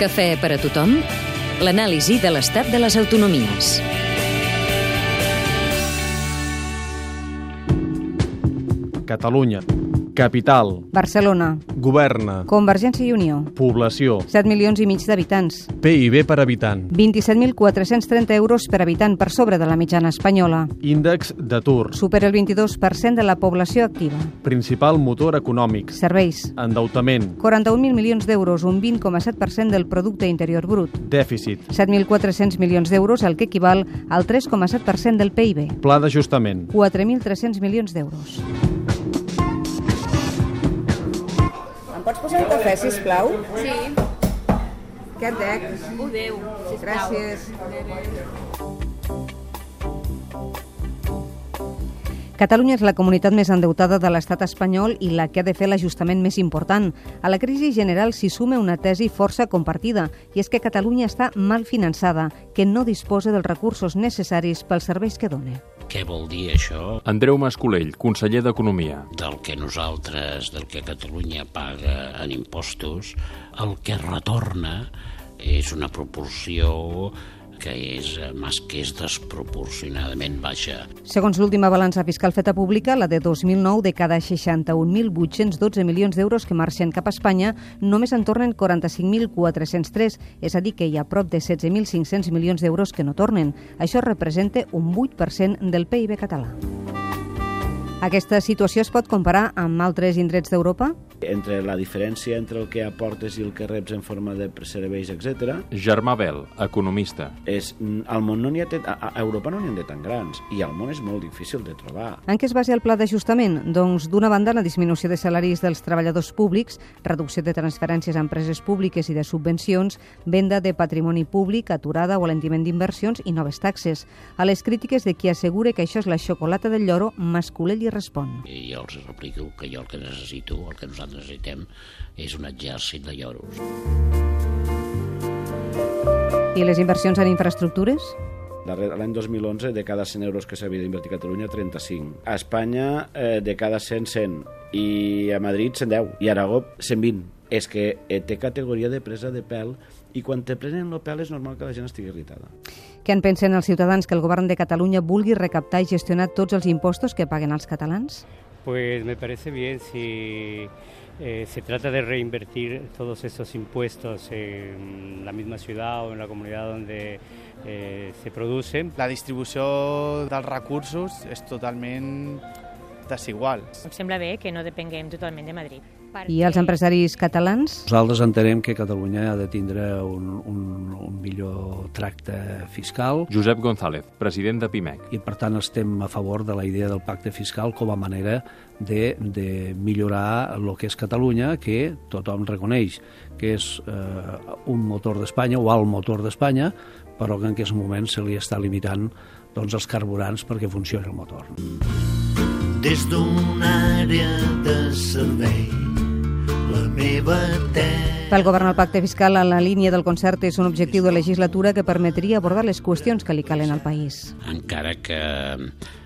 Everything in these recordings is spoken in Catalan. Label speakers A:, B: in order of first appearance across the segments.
A: Cafè per a tothom, l'anàlisi de l'estat de les autonomies.
B: Catalunya. Capital.
C: Barcelona.
B: Governa.
C: Convergència i Unió.
B: Població.
C: 7 milions i mig d'habitants.
B: PIB per habitant.
C: 27.430 euros per habitant per sobre de la mitjana espanyola.
B: Índex d'atur.
C: Supera el 22% de la població activa.
B: Principal motor econòmic.
C: Serveis.
B: Endeutament.
C: 41.000 milions d'euros, un 20,7% del producte interior brut.
B: Dèficit.
C: 7.400 milions d'euros, el que equival al 3,7% del PIB.
B: Pla d'ajustament.
C: 4.300 milions d'euros. Em pots posar un cafè, sisplau?
D: Sí,
C: Aquest dec.
D: ho deu.
C: Gràcies. Catalunya és la comunitat més endeutada de l'estat espanyol i la que ha de fer l'ajustament més important. A la crisi general s'hi suma una tesi força compartida, i és que Catalunya està mal finançada, que no disposa dels recursos necessaris pels serveis que dona.
E: Què vol dir això?
F: Andreu Mascolell, conseller d'Economia.
E: Del que nosaltres, del que Catalunya paga en impostos, el que retorna és una proporció que és eh, més que és desproporcionadament baixa.
C: Segons l'última balança fiscal feta pública, la de 2009, de cada 61.812 milions d'euros que marxen cap a Espanya, només en tornen 45.403, és a dir, que hi ha prop de 16.500 milions d'euros que no tornen. Això representa un 8% del PIB català. Aquesta situació es pot comparar amb altres indrets d'Europa?
G: entre la diferència entre el que aportes i el que reps en forma de serveis, etc.
F: Germà Bel, economista.
G: és mm, al món no n'hi ha tant, a a Europa no n'hi ha de tan grans i al món és molt difícil de trobar.
C: En què es basa el pla d'ajustament? Doncs, d'una banda, la disminució de salaris dels treballadors públics, reducció de transferències a empreses públiques i de subvencions, venda de patrimoni públic, aturada o alentiment d'inversions i noves taxes. A les crítiques de qui assegura que això és la xocolata del lloro, Mascolell hi respon.
E: I jo els replico que jo el que necessito, el que nosaltres necessitem, és un exèrcit de lloros.
C: I les inversions en infraestructures?
G: Darrer- L'any 2011, de cada 100 euros que s'havia d'invertir a Catalunya, 35. A Espanya, eh, de cada 100, 100. I a Madrid, 110. I a Aragó, 120. És que eh, té categoria de presa de pèl i quan te prenen el pèl és normal que la gent estigui irritada.
C: Què en pensen els ciutadans que el govern de Catalunya vulgui recaptar i gestionar tots els impostos que paguen els catalans?
H: Pues me parece bien si eh, se trata de reinvertir todos esos impuestos en la misma ciudad o en la comunidad donde eh, se producen.
I: la distribució dels recursos és totalment desigual.
D: Em sembla bé que no depenguem totalment de Madrid.
C: I els empresaris catalans?
J: Nosaltres entenem que Catalunya ha de tindre un, un, un millor tracte fiscal
F: Josep González, president de PIMEC.
J: i per tant estem a favor de la idea del pacte fiscal com a manera de, de millorar el que és Catalunya, que tothom reconeix que és eh, un motor d'Espanya o el motor d'Espanya, però que en aquests moments se li està limitant doncs, els carburants perquè funcioni el motor.
K: Des d'una àrea de servei, la meva terra...
C: Pel govern, el pacte fiscal en la línia del concert és un objectiu de legislatura que permetria abordar les qüestions que li calen al país.
E: encara que,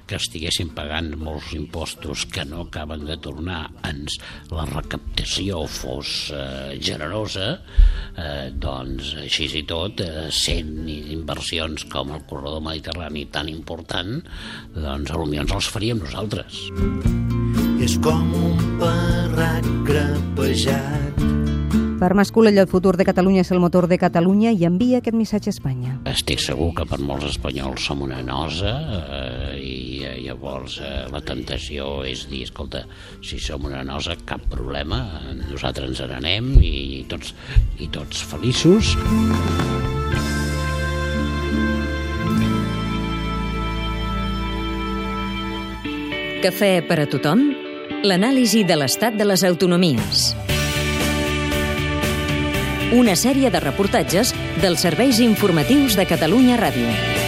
E: que estiguessin pagant molts impostos que no acaben de tornar ens la recaptació fos eh, generosa eh, doncs així i tot eh, sent inversions com el corredor mediterrani tan important doncs potser ens els faríem nosaltres
K: És com un parrac grapejat.
C: Per Mascolell, el futur de Catalunya és el motor de Catalunya i envia aquest missatge a Espanya.
E: Estic segur que per molts espanyols som una nosa eh, i eh, llavors eh, la tentació és dir, escolta, si som una nosa, cap problema, eh, nosaltres ens n'anem i tots, i tots feliços.
A: Cafè per a tothom, l'anàlisi de l'estat de les autonomies. Una sèrie de reportatges dels serveis informatius de Catalunya Ràdio.